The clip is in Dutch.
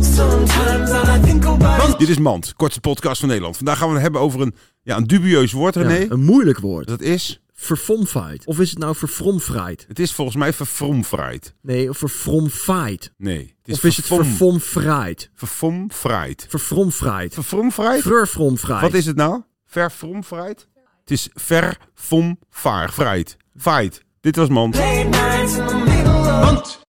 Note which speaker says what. Speaker 1: Sometimes all I think about is
Speaker 2: Dit is Mand, kortste podcast van Nederland. Vandaag gaan we het hebben over een, ja, een dubieus woord, René.
Speaker 3: Ja, een moeilijk woord.
Speaker 2: Dat is,
Speaker 3: Verfromfeit. Of is het nou verfromfreit?
Speaker 2: het is volgens mij verfromfraaid.
Speaker 3: Nee, of verfromfeit.
Speaker 2: Nee, het
Speaker 3: Of is het verfromfreit?
Speaker 2: verfromfraaid.
Speaker 3: Verfromfreit.
Speaker 2: Verfromfraaid?
Speaker 3: Verfromfreit.
Speaker 2: Wat is het nou? Verfromfraaid? Het is verfomvaarfraaid. Vaait. Dit was Mand.
Speaker 1: late nights in the middle of